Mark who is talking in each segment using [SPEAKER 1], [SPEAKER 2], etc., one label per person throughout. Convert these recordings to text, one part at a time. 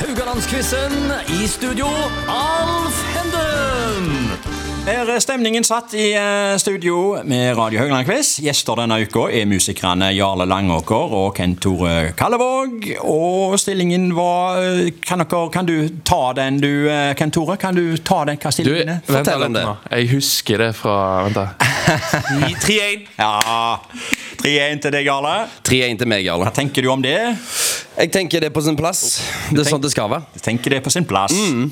[SPEAKER 1] Haugalandsquizen i studio, Alf Henden!
[SPEAKER 2] Her er stemningen satt i eh, studio med Radio Haugland-quiz. Gjester denne uka er musikerne Jarle Langåker og Kent Tore Kallevåg. Og stillingen var eh, Kan, dere, kan du ta den, du, eh, Kent Tore? Kan du ta den, hva
[SPEAKER 3] Du,
[SPEAKER 2] stillingen er?
[SPEAKER 3] vent da
[SPEAKER 1] Fortell om
[SPEAKER 3] litt
[SPEAKER 1] det.
[SPEAKER 3] nå. Jeg husker det fra Vent, da.
[SPEAKER 1] 3-1.
[SPEAKER 2] Ja. 3-1 til deg, Jarle.
[SPEAKER 1] 3-1 til meg, Jarle.
[SPEAKER 2] Hva tenker du om det?
[SPEAKER 1] Jeg tenker det er på sin plass. Det er sånn det skal være.
[SPEAKER 2] Jeg tenker det er på sin plass.
[SPEAKER 1] Mm.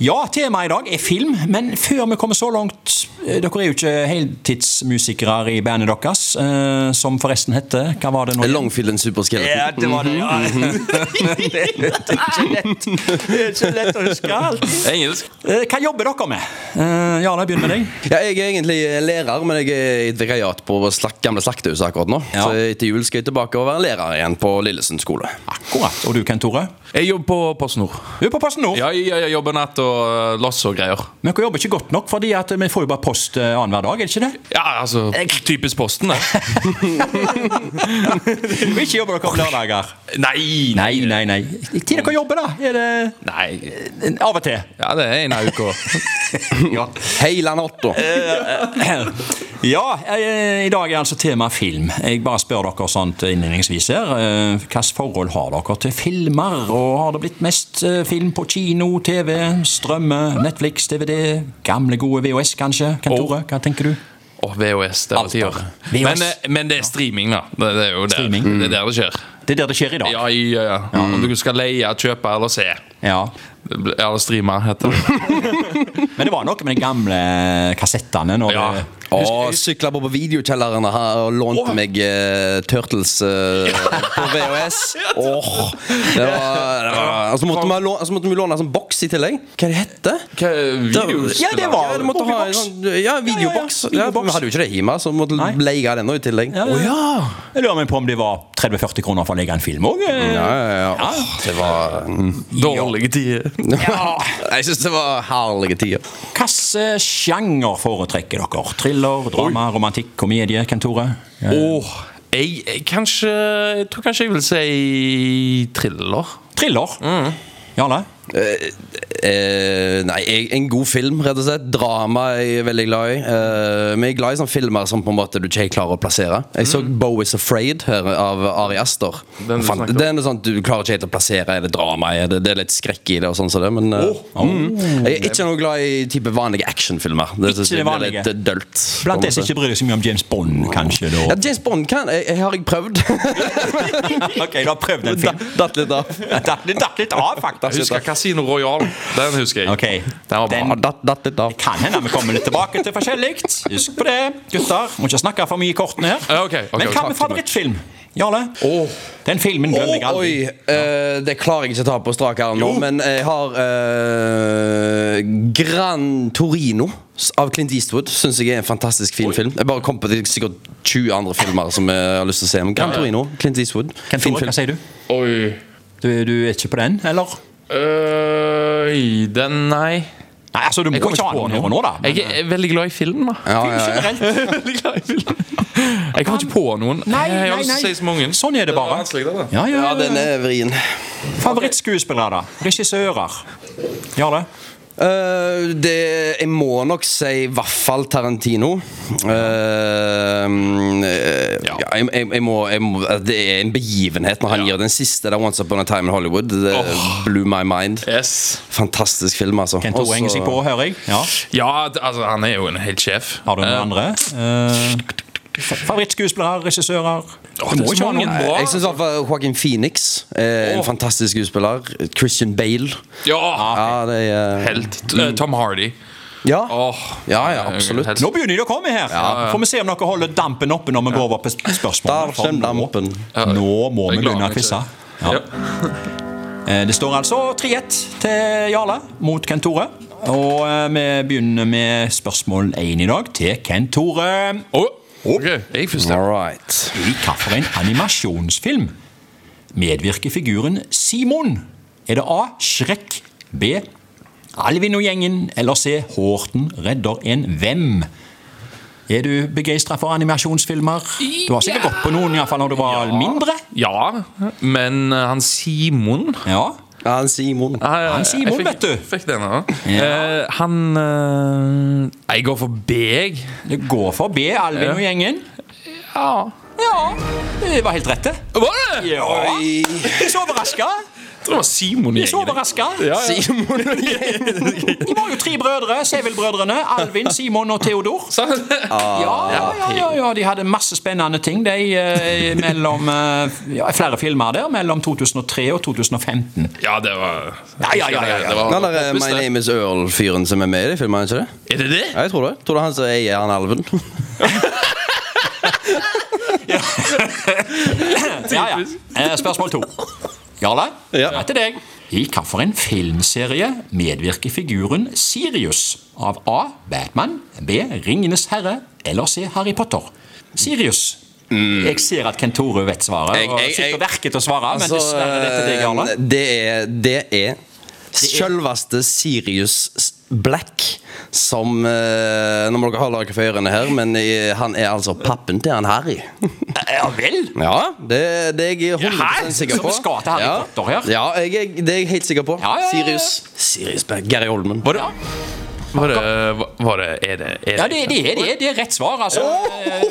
[SPEAKER 2] Ja, temaet i dag er film, men før vi kommer så langt eh, Dere er jo ikke heltidsmusikere i bandet deres, eh, som forresten heter Hva var det nå?
[SPEAKER 1] Longfillen superskeleton.
[SPEAKER 2] Ja, det var det, ja. det er ikke lett. Det er ikke lett å huske alt.
[SPEAKER 3] Engelsk.
[SPEAKER 2] Eh, Hva jobber dere med? Eh, Jarle, begynn med deg.
[SPEAKER 1] Ja, jeg er egentlig lærer, men jeg er i et vikariat på slak, gamle slaktehuset akkurat nå.
[SPEAKER 2] Ja.
[SPEAKER 1] Så etter jul skal jeg tilbake og være lærer igjen på Lillesund skole.
[SPEAKER 2] Akkurat. Og du, Kent Tore?
[SPEAKER 3] Jeg jobber på Post Nord.
[SPEAKER 2] Du er på Posten Nord.
[SPEAKER 3] Ja, jeg, jeg jobber natt og eh, loss og greier.
[SPEAKER 2] Men dere jobber ikke godt nok, fordi at vi får jo bare post eh, annenhver dag, er det ikke det?
[SPEAKER 3] Ja, altså Typisk Posten, det.
[SPEAKER 2] Og ikke jobber dere om lørdager.
[SPEAKER 3] Nei!
[SPEAKER 2] Nei, nei, nei. Tid dere jobber, da? Er det
[SPEAKER 3] Nei.
[SPEAKER 2] Av og til.
[SPEAKER 3] Ja, det er en av uka.
[SPEAKER 2] Ja.
[SPEAKER 1] Heila natta!
[SPEAKER 2] Ja, eh, i dag er altså tema film. Jeg bare spør dere sånt innledningsvis her. eh, Hvilket forhold har dere til filmer? Og har det blitt mest eh, film på kino, TV, strømme, Netflix, DVD? Gamle, gode VHS, kanskje? Kent Tore, hva tenker du?
[SPEAKER 3] Og VHS. Det
[SPEAKER 2] Alt
[SPEAKER 3] er tiår.
[SPEAKER 2] bare.
[SPEAKER 3] Men,
[SPEAKER 2] VHS.
[SPEAKER 3] eh, men det er streaming, da. Det, det er jo der
[SPEAKER 2] Streaming.
[SPEAKER 3] det, er der det skjer.
[SPEAKER 2] Det er der det skjer i dag.
[SPEAKER 3] Ja, ja, Mm. ja. Om du skal leie, kjøpe eller se.
[SPEAKER 2] Ja.
[SPEAKER 3] Eller streame, heter det.
[SPEAKER 2] Men det var noe med de gamle eh, kassettene. Når
[SPEAKER 3] Ja.
[SPEAKER 2] det,
[SPEAKER 1] Og sykla på på videokjelleren og ha- og lånte meg eh, Turtles eh, på VHS. Åh, det var, det var. Og så måtte, vi ha lå- så måtte vi låne en sånn boks i tillegg. Hva er det hette?
[SPEAKER 3] Hva er videospiller?
[SPEAKER 2] Ja, det var-
[SPEAKER 1] ja, du måtte ha en
[SPEAKER 2] Boks.
[SPEAKER 1] sånn, ja, videoboks.
[SPEAKER 2] Ja,
[SPEAKER 1] Ja,
[SPEAKER 2] ja, ja. Videoboks.
[SPEAKER 1] vi hadde jo ikke det hjemme, så vi måtte
[SPEAKER 2] Nei.
[SPEAKER 1] leie den også i tillegg.
[SPEAKER 2] ja. Jeg lurer meg på om det var 30-40 kroner for å legge en film eh. òg.
[SPEAKER 1] Ja, ja, ja. Åh, det var
[SPEAKER 3] Dårlige tider.
[SPEAKER 1] Jeg syns det var herlige tider.
[SPEAKER 2] Hvilken sjanger foretrekker dere? Thriller, drama, romantikk, komedie? Kent Tore? Ja.
[SPEAKER 3] Åh, jeg, jeg, kanskje, jeg tror kanskje jeg vil si thriller.
[SPEAKER 2] Thriller? Jarle?
[SPEAKER 1] Eh, eh, nei, jeg- en god film, rett og slett. Drama er jeg veldig glad i. Eh, men jeg er glad i sånne filmer som på en måte du ikke helt klarer å plassere. Jeg så
[SPEAKER 2] Mm.
[SPEAKER 1] Bo Is Afraid her av Ari Aster.
[SPEAKER 3] Den du
[SPEAKER 1] Fan,
[SPEAKER 3] snakker om.
[SPEAKER 1] den er sånn, at Du klarer ikke helt å plassere. Er det drama? Er det, det er litt skrekk i det? og sånn som det Men eh, mm. Jeg er ikke noe glad i type vanlige actionfilmer. Det synes
[SPEAKER 2] Ikke det
[SPEAKER 1] jeg blir
[SPEAKER 2] vanlige.
[SPEAKER 1] litt eh, dølt.
[SPEAKER 2] Blant
[SPEAKER 1] på en
[SPEAKER 2] de som
[SPEAKER 1] måte.
[SPEAKER 2] ikke bryr seg så mye om James Bond, kanskje?
[SPEAKER 1] ja,
[SPEAKER 2] Da.
[SPEAKER 1] James Bond kan jeg, jeg har jeg prøvd.
[SPEAKER 2] ok, du har prøvd en film.
[SPEAKER 1] Datt- Datt litt av.
[SPEAKER 2] Da- Det datt litt av,
[SPEAKER 3] Jeg
[SPEAKER 2] faktisk.
[SPEAKER 3] husker Casino Royale. Den husker jeg.
[SPEAKER 2] Ok.
[SPEAKER 3] Den var bra.
[SPEAKER 2] Den-
[SPEAKER 1] Datt, datt litt av.
[SPEAKER 2] Kan hende vi kommer litt tilbake til forskjellig. Husk på det, gutter. Må ikke snakke for mye i kortene her.
[SPEAKER 3] Ja, ok, ok,
[SPEAKER 2] Men hva med
[SPEAKER 3] takk.
[SPEAKER 2] favorittfilm? Jarle?
[SPEAKER 1] Åh.
[SPEAKER 2] Den filmen glemmer jeg
[SPEAKER 1] Å,
[SPEAKER 2] aldri.
[SPEAKER 1] Oi, eh, det klarer jeg ikke å ta på strak arm nå, men jeg har eh, Gran Torino s- av Clint Eastwood. Syns jeg er en fantastisk fin film. Jeg bare kom på det er sikkert 20 andre filmer som jeg har lyst til å se. Men Gran
[SPEAKER 3] Ja, ja.
[SPEAKER 1] Torino, Clint Eastwood.
[SPEAKER 2] Kent
[SPEAKER 1] Fin
[SPEAKER 2] Tore, hva
[SPEAKER 1] film.
[SPEAKER 2] sier du?
[SPEAKER 3] Oi.
[SPEAKER 2] du? Du er ikke på den, eller?
[SPEAKER 3] Øy, den, nei.
[SPEAKER 2] Nei, altså, du må
[SPEAKER 3] kommer
[SPEAKER 2] ikke ha den her og nå, da.
[SPEAKER 3] Jeg er- er veldig glad i film, da.
[SPEAKER 1] Ja,
[SPEAKER 2] Film
[SPEAKER 1] ja, ja.
[SPEAKER 2] generelt.
[SPEAKER 3] Veldig glad i film. Jeg kommer ikke på noen.
[SPEAKER 2] Nei,
[SPEAKER 3] jeg har
[SPEAKER 2] nei,
[SPEAKER 3] lyst til å
[SPEAKER 2] nei.
[SPEAKER 3] si så mange.
[SPEAKER 2] Sånn er det bare.
[SPEAKER 3] var vanskelig, det, da.
[SPEAKER 2] Ja, ja,
[SPEAKER 1] ja,
[SPEAKER 2] ja,
[SPEAKER 1] den er vrien.
[SPEAKER 2] Favorittskuespillere, da? Regissører? Ja, det?
[SPEAKER 1] Eh, det, jeg må nok si i hvert fall Tarantino. Eh, eh,
[SPEAKER 3] Ja.
[SPEAKER 1] ja, jeg, jeg, jeg må, jeg må, det er en begivenhet når han
[SPEAKER 3] Ja.
[SPEAKER 1] gir den siste. Det er Once Upon a Time in Hollywood. Det blew my mind.
[SPEAKER 3] Yes.
[SPEAKER 1] Fantastisk film, altså.
[SPEAKER 2] Kent Tore henger seg på, hører jeg. Ja.
[SPEAKER 3] Ja, d- altså, han er jo en helt sjef.
[SPEAKER 2] Har du noen
[SPEAKER 3] Eh,
[SPEAKER 2] andre? Eh, fa- Favorittskuespillere, regissører?
[SPEAKER 3] åh, det er så mange bra.
[SPEAKER 1] Jeg syns Joaquin Phoenix er en
[SPEAKER 3] Åh.
[SPEAKER 1] fantastisk skuespiller. Christian Bale.
[SPEAKER 3] Ja.
[SPEAKER 1] Ja, det er
[SPEAKER 3] Helt.
[SPEAKER 2] Mm.
[SPEAKER 3] Eh, Tom Hardy.
[SPEAKER 1] Ja,
[SPEAKER 3] Åh. Eh,
[SPEAKER 1] ja, ja absolutt.
[SPEAKER 3] Helt-
[SPEAKER 2] Nå begynner de å komme her! Får vi se om dere holder dampen oppe når vi går over på sp-
[SPEAKER 1] Der
[SPEAKER 2] spørsmålene. For
[SPEAKER 1] kommer
[SPEAKER 2] nå-
[SPEAKER 1] dampen.
[SPEAKER 2] Nå må vi begynne
[SPEAKER 3] Jeg gleder
[SPEAKER 2] å
[SPEAKER 3] meg
[SPEAKER 2] quize.
[SPEAKER 3] til-
[SPEAKER 2] Ja.
[SPEAKER 3] Ja.
[SPEAKER 2] Eh, Det står altså 3-1 til Jarle mot Kent Tore. Og eh, vi begynner med spørsmål 1 i dag til Kent Tore.
[SPEAKER 3] Åh, ok. Jeg først.
[SPEAKER 1] All right.
[SPEAKER 2] I hvilken animasjonsfilm medvirker figuren Simon? Er det A. Shrek, B. Alvin og gjengen, eller C. Horten redder en hvem? Er du begeistra for animasjonsfilmer? Du har sikkert gått på noen i hvert fall når du var mindre.
[SPEAKER 3] Ja, men eh, han Simon
[SPEAKER 2] Ja.
[SPEAKER 1] Ja, han Simon.
[SPEAKER 3] Ah, ja,
[SPEAKER 2] Han
[SPEAKER 3] jeg
[SPEAKER 2] Simon,
[SPEAKER 3] fikk-
[SPEAKER 2] vet du.
[SPEAKER 3] Fikk den nå. Eh, han eh, Jeg går for B, jeg.
[SPEAKER 2] Det går for B, Alvin
[SPEAKER 3] Ja.
[SPEAKER 2] og gjengen.
[SPEAKER 3] Ja.
[SPEAKER 2] Ja, det var helt rett, det.
[SPEAKER 3] Var det?
[SPEAKER 2] Ja.
[SPEAKER 1] Oi.
[SPEAKER 2] Jeg er så overraska.
[SPEAKER 3] Jeg tror det var Simon i
[SPEAKER 2] Jeg er så
[SPEAKER 3] gjengen.
[SPEAKER 2] overraska.
[SPEAKER 3] Ja, ja.
[SPEAKER 1] Simon og gjengen.
[SPEAKER 2] De var jo tre brødre, Sevel-brødrene. Alvin, Simon og Theodor.
[SPEAKER 3] Sant?
[SPEAKER 2] Ja, ja, ja, ja, de hadde masse spennende ting de, eh, mellom eh, ja, flere filmer der mellom 2003 og 2015.
[SPEAKER 3] Ja, det var
[SPEAKER 2] Ja, ja, ja, ja, ja.
[SPEAKER 3] Det var-
[SPEAKER 1] Han der eh, My
[SPEAKER 3] det.
[SPEAKER 1] Name Is Earl-fyren som er med i de filmene, ikke det?
[SPEAKER 3] Er det det?
[SPEAKER 1] Ja, jeg tror det. Tror du han som eier han alven?
[SPEAKER 2] Ja, ja. Eh, Spørsmål to. Jarle,
[SPEAKER 1] Ja.
[SPEAKER 2] det er til deg. I hvilken filmserie medvirker figuren Sirius av A. Batman, B. Ringenes herre eller C. Harry Potter? Sirius. Jeg ser at Kent Tore vet svaret.
[SPEAKER 1] Mm. Jeg-
[SPEAKER 2] og
[SPEAKER 1] jeg-
[SPEAKER 2] sitter
[SPEAKER 1] jeg-
[SPEAKER 2] verket til å svare, men
[SPEAKER 1] Altså,
[SPEAKER 2] dessverre det er til deg, Jarle.
[SPEAKER 1] eh, det er Det er selveste Sirius S- Black som eh, Nå må dere holde dere for ørene her, men eh, han er altså pappen til han Harry.
[SPEAKER 2] Eh, Ja vel?
[SPEAKER 1] Ja, det, det er jeg
[SPEAKER 2] Hæ?
[SPEAKER 1] 100 sikker på.
[SPEAKER 2] Så vi skal til Harry
[SPEAKER 1] ja.
[SPEAKER 2] Potter her?
[SPEAKER 1] Ja, jeg, er- det er jeg helt sikker på.
[SPEAKER 2] Ja, ja, ja, ja.
[SPEAKER 1] Sirius. Sirius Black. Gary Holmen.
[SPEAKER 3] Var det, var det, var det Er det, er
[SPEAKER 2] Ja, det, det, er, det, er, det er rett svar, altså. Eh,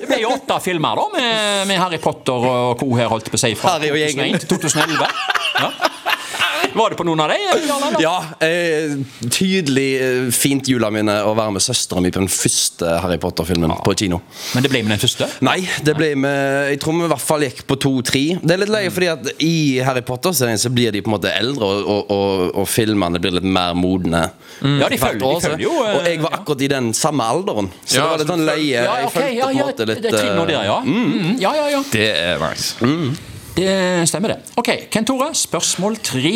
[SPEAKER 2] Det ble jo åtte filmer da med, med Harry Potter og co. her, holdt jeg på å si, fra
[SPEAKER 1] Harry og gjengen.
[SPEAKER 2] 2001 til 2011. Ja. Var det på noen av dem? Jarle, eller?
[SPEAKER 1] Ja, eh, tydelig eh, fint juleminne å være med søstera mi på den første Harry Potter-filmen på kino.
[SPEAKER 2] Men det ble med den første?
[SPEAKER 1] Nei, det ble med Jeg tror vi i hvert fall gikk på to-tre. Det er litt
[SPEAKER 2] Mm.
[SPEAKER 1] løye, fordi at i Harry Potter-serien så blir de på en måte eldre, og, og, og, og filmene blir litt mer modne.
[SPEAKER 2] Ja, Mm. de følger- de
[SPEAKER 1] År, så-
[SPEAKER 2] følger jo, eh,
[SPEAKER 1] Og jeg var akkurat i den samme alderen, så
[SPEAKER 3] Ja,
[SPEAKER 1] det var litt
[SPEAKER 3] så
[SPEAKER 1] sånn
[SPEAKER 3] du føl-
[SPEAKER 1] løye.
[SPEAKER 2] Ja,
[SPEAKER 1] Jeg
[SPEAKER 2] ok,
[SPEAKER 1] følte
[SPEAKER 2] ja,
[SPEAKER 1] på en
[SPEAKER 2] ja,
[SPEAKER 1] måte
[SPEAKER 2] det
[SPEAKER 1] litt
[SPEAKER 2] er trinn nå
[SPEAKER 1] eh,
[SPEAKER 2] der, ja. Mm, ja, ja, ja.
[SPEAKER 3] det er nice.
[SPEAKER 2] Det stemmer, det. Ok, Kent Tore, spørsmål tre.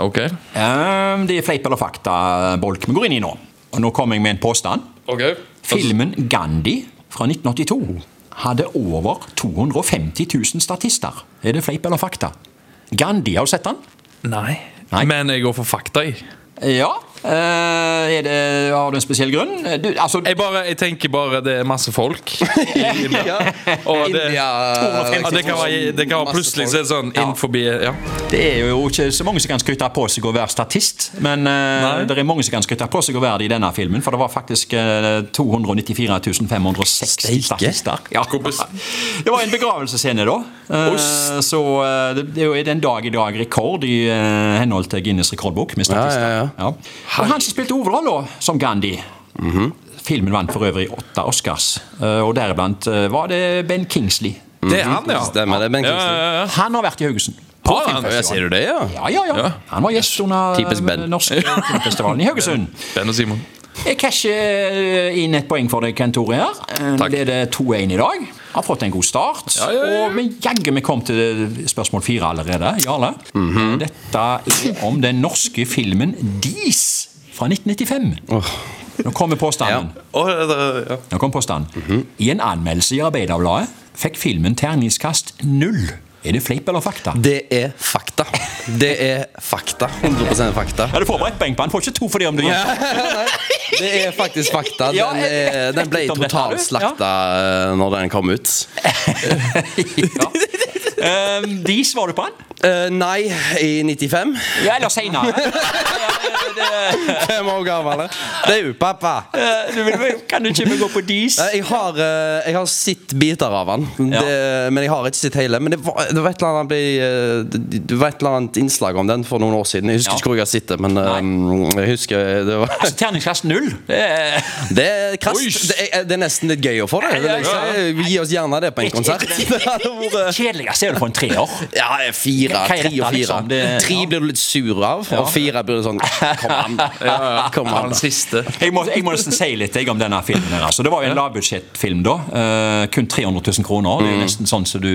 [SPEAKER 3] OK.
[SPEAKER 2] Eh, Det er fleip eller fakta-bolk vi går inn i nå. Og nå kommer jeg med en påstand.
[SPEAKER 3] okay.
[SPEAKER 2] Filmen Gandhi fra 1982 hadde over 250 000 statister. Er det fleip eller fakta? Gandhi, har du sett den?
[SPEAKER 3] Nei.
[SPEAKER 2] Nei.
[SPEAKER 3] Men jeg går for fakta, jeg.
[SPEAKER 2] Ja. Eh, er det, har du en spesiell grunn? Du, altså,
[SPEAKER 3] Jeg, bare, jeg tenker bare det er masse folk.
[SPEAKER 1] ja.
[SPEAKER 3] Og det,
[SPEAKER 1] India
[SPEAKER 3] ja, det, kan, være, det kan være plutselig så er det sånn inn forbi ja.
[SPEAKER 2] det er jo ikke så mange som kan skryte på seg å være statist, men eh,
[SPEAKER 3] Nei.
[SPEAKER 2] det er mange som kan skryte på seg å være det i denne filmen, for det var faktisk eh, 294 560
[SPEAKER 1] Steike.
[SPEAKER 2] statister. Ja. Det var en begravelsesscene, da. Eh, så eh, det det er jo er det en dag i dag rekord i eh, henhold til Guinness rekordbok med statister.
[SPEAKER 1] Ja, ja, ja.
[SPEAKER 2] Og han som spilte hovedrollen da, som Gandhi
[SPEAKER 1] Mhm.
[SPEAKER 2] Filmen vant for øvrig åtte Oscars, eh, og deriblant eh, var det Ben Kingsley.
[SPEAKER 3] Det er han, ja.
[SPEAKER 1] Stemmer det, Ben
[SPEAKER 3] Ja,
[SPEAKER 1] Kingsley.
[SPEAKER 3] ja, ja.
[SPEAKER 2] Han har vært i Haugesund. På
[SPEAKER 3] Har han?
[SPEAKER 2] filmfestivalen.
[SPEAKER 1] Ja, Sier du det, ja?
[SPEAKER 2] Ja, ja, ja.
[SPEAKER 3] Ja.
[SPEAKER 2] Han var gjest
[SPEAKER 1] Typisk
[SPEAKER 2] under
[SPEAKER 1] Ben.
[SPEAKER 2] den norske filmfestivalen i Haugesund.
[SPEAKER 3] Ben og Simon.
[SPEAKER 2] Jeg casher eh, inn et poeng for deg, Kent Tore. her. Eh,
[SPEAKER 3] Takk.
[SPEAKER 2] Det er det 2-1 i dag. Har fått en god start.
[SPEAKER 3] Ja, ja, ja.
[SPEAKER 2] Og vi jaggu vi kom til spørsmål fire allerede. Jarle,
[SPEAKER 3] Mhm.
[SPEAKER 2] dette er om den norske filmen Dis fra 1995. Nå kommer påstanden.
[SPEAKER 3] Og, ja. Mhm.
[SPEAKER 2] Nå kom påstanden. I en anmeldelse i Arbeiderbladet fikk filmen terningskast null. Er det fleip eller fakta?
[SPEAKER 1] Det er fakta. Det er fakta. 100 fakta.
[SPEAKER 2] Ja, Du får bare ett poeng på den. Får ikke to for det om du gjentar.
[SPEAKER 1] Det er faktisk fakta.
[SPEAKER 2] Ja,
[SPEAKER 1] Den,
[SPEAKER 2] jeg vet-
[SPEAKER 1] er, den ble
[SPEAKER 2] vet litt om dette,
[SPEAKER 1] totalt
[SPEAKER 2] du. Ja.
[SPEAKER 1] slakta eh, når den kom ut.
[SPEAKER 2] ja. um, Dis var du på den?
[SPEAKER 1] Eh, nei, i 95.
[SPEAKER 2] Ja, eller seinere.
[SPEAKER 1] Fem år gammel. Det er jo pappa.
[SPEAKER 2] kan du ikke gå på Dis?
[SPEAKER 1] Eh, Jeg har, eh, jeg har sett biter av han,
[SPEAKER 2] Ja.
[SPEAKER 1] det, men jeg har ikke sett hele. Men det var, det var et eller annet ble, eh, det- det var et eller annet innslag om den for noen år siden. Jeg husker
[SPEAKER 2] Ja.
[SPEAKER 1] ikke hvor jeg har sett det, men eh, jeg husker det var
[SPEAKER 2] Altså, Terningsklasse null. Det er
[SPEAKER 1] Det er krast.
[SPEAKER 3] Oi.
[SPEAKER 1] Det er, det er nesten litt gøy å få det. Vil jeg si. Gi oss gjerne det på en konsert. Det hadde vært
[SPEAKER 2] kjedeligst er det for en treer.
[SPEAKER 1] ja, fire,
[SPEAKER 2] Hva er
[SPEAKER 1] tre
[SPEAKER 2] dette,
[SPEAKER 1] og fire.
[SPEAKER 2] liksom? Det-
[SPEAKER 1] Tre
[SPEAKER 2] ja.
[SPEAKER 1] blir du litt sur av, og fire blir du sånn Kom an, kom
[SPEAKER 3] Han
[SPEAKER 1] an. da.
[SPEAKER 3] siste.
[SPEAKER 2] Jeg må, jeg må nesten si litt jeg, om denne filmen. her altså. Det var jo en lavbudsjettfilm, da. Eh, kun 300 000 kroner. Det er jo nesten sånn som du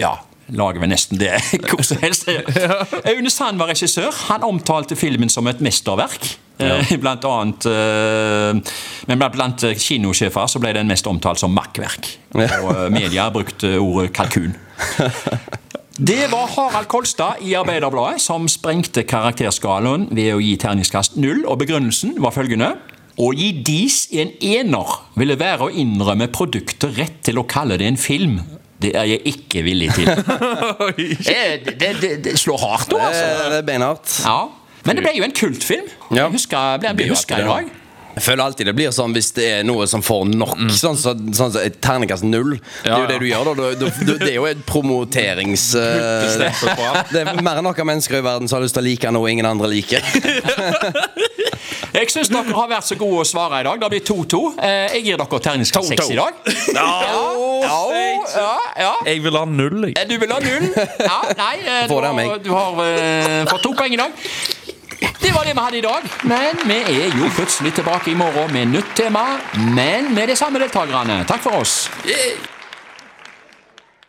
[SPEAKER 2] Ja. Lager vel nesten det hvor som helst. Aune Sand var regissør. Han omtalte filmen som et mesterverk. Eh, Blant annet eh, Men blant- blant kinosjefer så ble den mest omtalt som makkverk. Og eh, media brukte ordet kalkun. Det var Harald Kolstad i Arbeiderbladet som sprengte karakterskalaen ved å gi terningskast null, og begrunnelsen var følgende. Å gi dis en ener ville være å innrømme produktet rett til å kalle det en film, Det er jeg ikke villig til.
[SPEAKER 3] Oi.
[SPEAKER 2] Det, det, det, det slår hardt nå, altså.
[SPEAKER 1] Eh, Det er beinhardt.
[SPEAKER 2] Ja. Men det ble jo en kultfilm.
[SPEAKER 1] Ja.
[SPEAKER 2] Jeg husker, ble, ble
[SPEAKER 3] jo
[SPEAKER 2] huska i
[SPEAKER 3] alltid
[SPEAKER 2] dag.
[SPEAKER 3] det.
[SPEAKER 1] Jeg føler alltid det blir sånn hvis det er noe som får nok. Sånn som sånn, som et terningkast null. det er jo
[SPEAKER 3] Ja,
[SPEAKER 1] det du gjør, da. Du, du, du, det er jo et promoterings... eh, det er mer enn noen mennesker i verden som har lyst til å like noe ingen andre liker.
[SPEAKER 2] Jeg syns dere har vært så gode å svare i dag. Det blir 2-2. Eh, Jeg gir dere terningskast 6 i dag. Ja, ja, ja.
[SPEAKER 3] Jeg vil ha null, jeg.
[SPEAKER 2] Eh, Du vil ha null? Ja, nei, eh, du
[SPEAKER 1] Få det av
[SPEAKER 2] har,
[SPEAKER 1] meg.
[SPEAKER 2] du har eh, fått to poeng i dag. Det var det vi hadde i dag, men vi er jo plutselig tilbake i morgen med nytt tema, men med de samme deltakerne. Takk for oss.